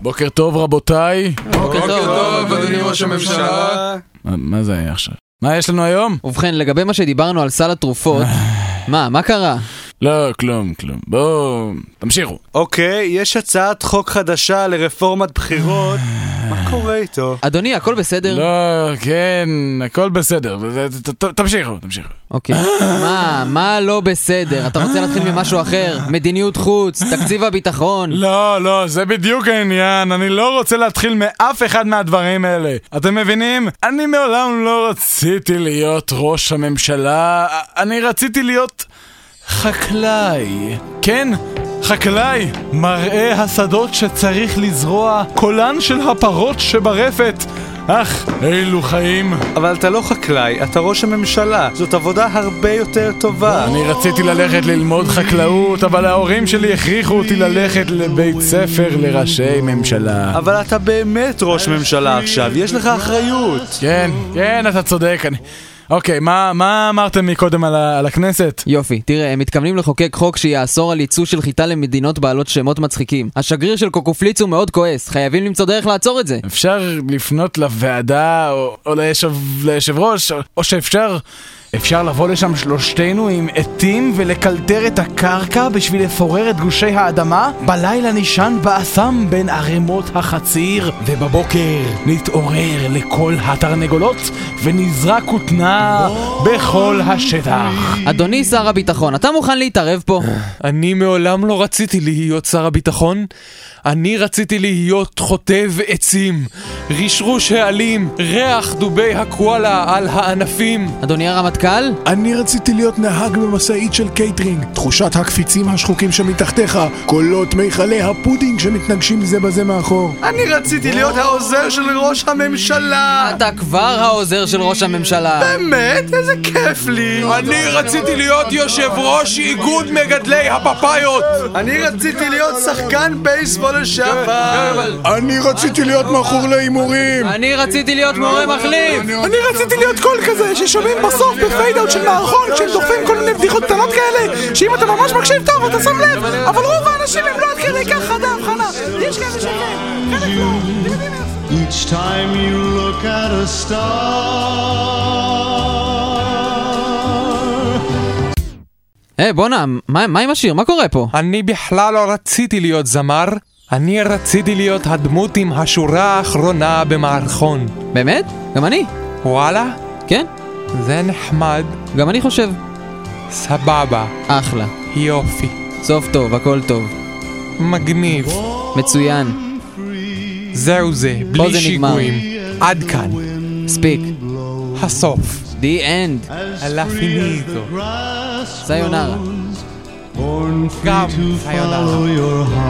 בוקר טוב רבותיי. בוקר אוקיי, טוב, אוקיי. אדוני ראש הממשלה. מה- מה זה היה עכשיו? מה יש לנו היום? ובכן, לגבי מה שדיברנו על סל התרופות, מה, מה קרה? לא, כלום, כלום. בואו, תמשיכו. אוקיי, יש הצעת חוק חדשה לרפורמת בחירות, מה קורה איתו? אדוני, הכל בסדר? לא, כן, הכל בסדר. ת- ת- ת- תמשיכו, תמשיכו. אוקיי. מה, מה לא בסדר? אתה רוצה להתחיל ממשהו אחר? מדיניות חוץ, תקציב הביטחון. לא, לא, זה בדיוק העניין. אני לא רוצה להתחיל מאף אחד מהדברים האלה. אתם מבינים? אני מעולם לא רציתי להיות ראש הממשלה. א- אני רציתי להיות חקלאי. כן? חקלאי, מראה השדות שצריך לזרוע, קולן של הפרות שברפת. אך, אילו חיים. אבל אתה לא חקלאי, אתה ראש הממשלה, זאת עבודה הרבה יותר טובה. אני רציתי ללכת ללמוד חקלאות, אבל ההורים שלי הכריחו אותי ללכת לבית ספר לראשי ממשלה. אבל אתה באמת ראש ממשלה עכשיו, יש לך אחריות. כן, כן, אתה צודק. אני... אוקיי, מה, מה אמרתם מקודם על, ה, על הכנסת? יופי, תראה, הם מתכוונים לחוקק חוק שיאסור על ייצוא של חיטה למדינות בעלות שמות מצחיקים. השגריר של קוקופליץ הוא מאוד כועס, חייבים למצוא דרך לעצור את זה. אפשר לפנות לוועדה או, או לישב, ליושב ראש, או, או שאפשר... אפשר לבוא לשם שלושתנו עם עטים ולקלטר את הקרקע בשביל לפורר את גושי האדמה? בלילה נישן באסם בין ערימות החציר, ובבוקר נתעורר לקול התרנגולות ונזרע כותנה בכל השטח. אדוני שר הביטחון, אתה מוכן להתערב פה? אני מעולם לא רציתי להיות שר הביטחון. אני רציתי להיות חוטב עצים, רשרוש העלים, ריח דובי הקואלה על הענפים. אדוני הרמטכ"ל? אני רציתי להיות נהג במשאית של קייטרינג. תחושת הקפיצים השחוקים שמתחתיך, קולות מיכלי הפודינג שמתנגשים זה בזה מאחור. אני רציתי להיות העוזר של ראש הממשלה! אתה כבר העוזר של ראש הממשלה. באמת? איזה כיף לי! אני רציתי להיות יושב ראש איגוד מגדלי הפפאיות! אני רציתי להיות שחקן בייסבול לשעבר! אני רציתי להיות מכור להימורים! אני רציתי להיות מורה מחליף! אני רציתי להיות קול כזה ששומעים בסוף בפיידאוט של מערכון כשהם דוחפים כל מיני בדיחות קטנות כאלה שאם אתה ממש מקשיב טוב אתה שם לב אבל רוב האנשים הם לא עד כדי כך חדה הבחנה יש כאלה שכן, חלק לא, אתם יודעים איך Each time you look at a star. היי, בואנה, מה מה עם השיר? מה קורה פה? אני בכלל לא רציתי להיות זמר, אני רציתי להיות הדמות עם השורה האחרונה במערכון. באמת? גם אני. וואלה, כן, זה נחמד, גם אני חושב. סבבה, אחלה. יופי, סוף טוב, הכל טוב. מגניב. מצוין. זהו זה, פה בלי זה נגמר. שיגועים. עד כאן, מספיק. הסוף. The end. הלא פיניטו. סיונרה. Born free Come, to sayonara. follow your heart.